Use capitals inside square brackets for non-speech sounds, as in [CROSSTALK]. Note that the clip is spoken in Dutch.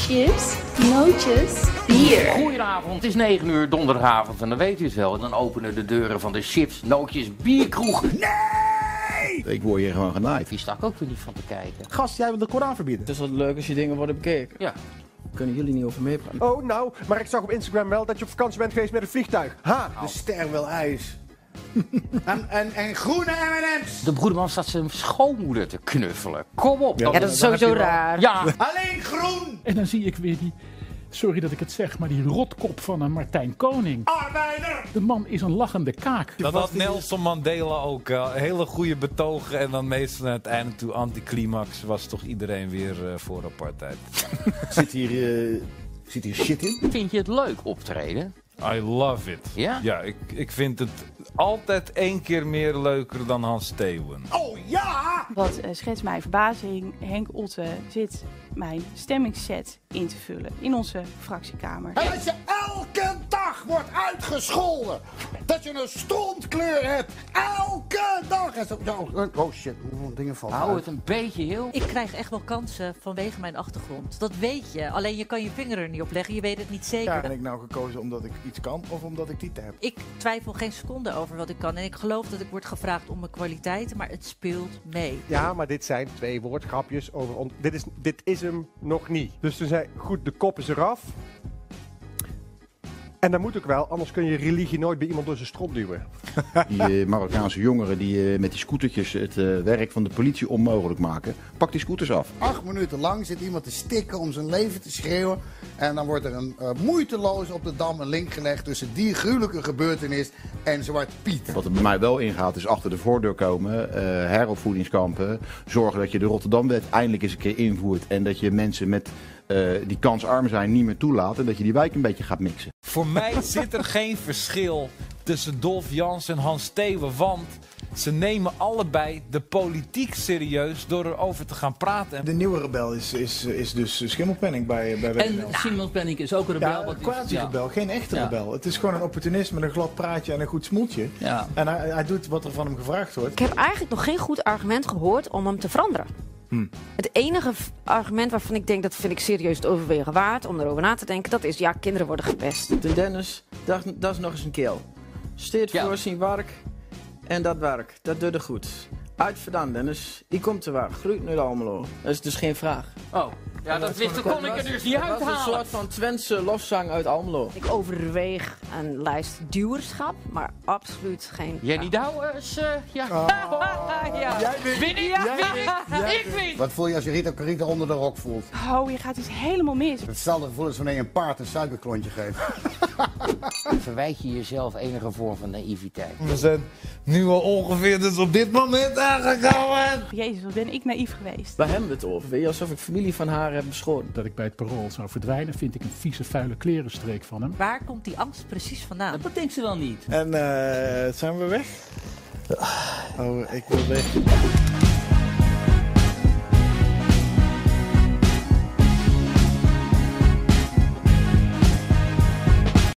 chips, nootjes, bier. Goedenavond, het is 9 uur donderdagavond en dan weet u het wel. Dan openen de deuren van de chips, nootjes, bierkroeg. Ik word hier gewoon genaaid. Die sta ik ook weer niet van te kijken. Gast, jij wil de Koran verbieden. Het is wat leuk als je dingen worden bekeken. Ja, Kunnen jullie niet over meepraten? Oh, nou, maar ik zag op Instagram wel dat je op vakantie bent geweest met een vliegtuig. Ha! De ster wil [LAUGHS] ijs. en, en, en groene M&M's. de broederman staat zijn schoonmoeder te knuffelen. Kom op. Ja, dat is sowieso raar. Ja, Alleen groen. En dan zie ik weer die, sorry dat ik het zeg, maar die rotkop van een Martijn Koning. Arbeider. De man is een lachende kaak. Dat had Nelson Mandela ook. eh, hele goede betogen. En dan meestal aan het einde toe anticlimax was toch iedereen weer eh, voor apartheid. Zit hier, eh, zit hier shit in? vind je het leuk optreden? I love it. Ja? Ja, ik, ik vind het altijd één keer meer leuker dan Hans Steeuwen. Oh ja. Wat eh, schetst mijn verbazing, Henk Otte zit mijn stemmingsset in te vullen in onze fractiekamer. En als je elke dag wordt uitgescholden. Dat je een strontkleur hebt. Elke dag. En zo, oh, oh shit, hoeveel dingen vallen Hou uit. het een beetje heel. Ik krijg echt wel kansen vanwege mijn achtergrond. Dat weet je. Alleen je kan je vinger er niet op leggen. Je weet het niet zeker. Ben ik nou gekozen omdat ik iets kan of omdat ik titel heb? Ik twijfel geen seconde over wat ik kan. En ik geloof dat ik word gevraagd om mijn kwaliteiten. Maar het speelt mee. Ja, maar dit zijn twee woordgrapjes over... on- Dit, is, dit is hem nog niet. Dus toen zei goed, de kop is eraf. En dat moet ook wel, anders kun je religie nooit bij iemand door zijn strop duwen. Die eh, Marokkaanse jongeren die eh, met die scootertjes het eh, werk van de politie onmogelijk maken. Pak die scooters af. Acht minuten lang zit iemand te stikken om zijn leven te schreeuwen. En dan wordt er een, eh, moeiteloos op de dam een link gelegd tussen die gruwelijke gebeurtenis en Zwart Piet. Wat er bij mij wel ingaat is achter de voordeur komen, eh, heropvoedingskampen. Zorgen dat je de Rotterdamwet eindelijk eens een keer invoert. En dat je mensen met, eh, die kansarm zijn niet meer toelaat. En dat je die wijk een beetje gaat mixen. Voor mij zit er geen verschil tussen Dolf Jans en Hans Steeuwen. Want ze nemen allebei de politiek serieus door erover te gaan praten. De nieuwe rebel is, is, is dus schimmelpenning bij, bij WNL. En Simon Penning is ook een rebel. ja, wat een is- quasi-rebel, geen echte Ja. rebel. Het is gewoon een opportunist met een glad praatje en een goed smoeltje. Ja. En hij, hij doet wat er van hem gevraagd wordt. Ik heb eigenlijk nog geen goed argument gehoord om hem te veranderen. Het enige v- argument waarvan ik denk dat vind ik serieus het overwegen waard om erover na te denken, dat is ja, kinderen worden gepest. De Dennis, dat, dat is nog eens een keel. Steed Ja. voor zijn werk. En dat werk, dat doet er goed. Uit vandaan, Dennis. Die komt te waar. Groeit nu allemaal. Dat is dus geen vraag. Oh, ja, dat wist ik, kon ik er dus niet Dat was een uithalen. soort van Twentse lofzang uit Almelo. Ik overweeg een lijst duurschap, maar absoluut geen. Jenny Douwers, eh, ja. [LAUGHS] ja. Oh. Jij wint. Win ik, Jij win ik, Jij ik win. Wat voel je als je Rita Corita onder de rok voelt? Oh, hier gaat iets helemaal mis. Hetzelfde gevoel als wanneer je een paard een suikerklontje geeft. Verwijt je jezelf enige vorm van naïviteit? We zijn nu al ongeveer dus op dit moment aangekomen. Jezus, wat ben ik naïef geweest. Waar hebben we het over? Weet je, alsof ik familie van haar heb beschoten. Dat ik bij het parool zou verdwijnen, vind ik een vieze, vuile klerenstreek van hem. Waar komt die angst precies vandaan? Dat denkt ze wel niet. En eh, zijn we weg? Oh, ik wil weg.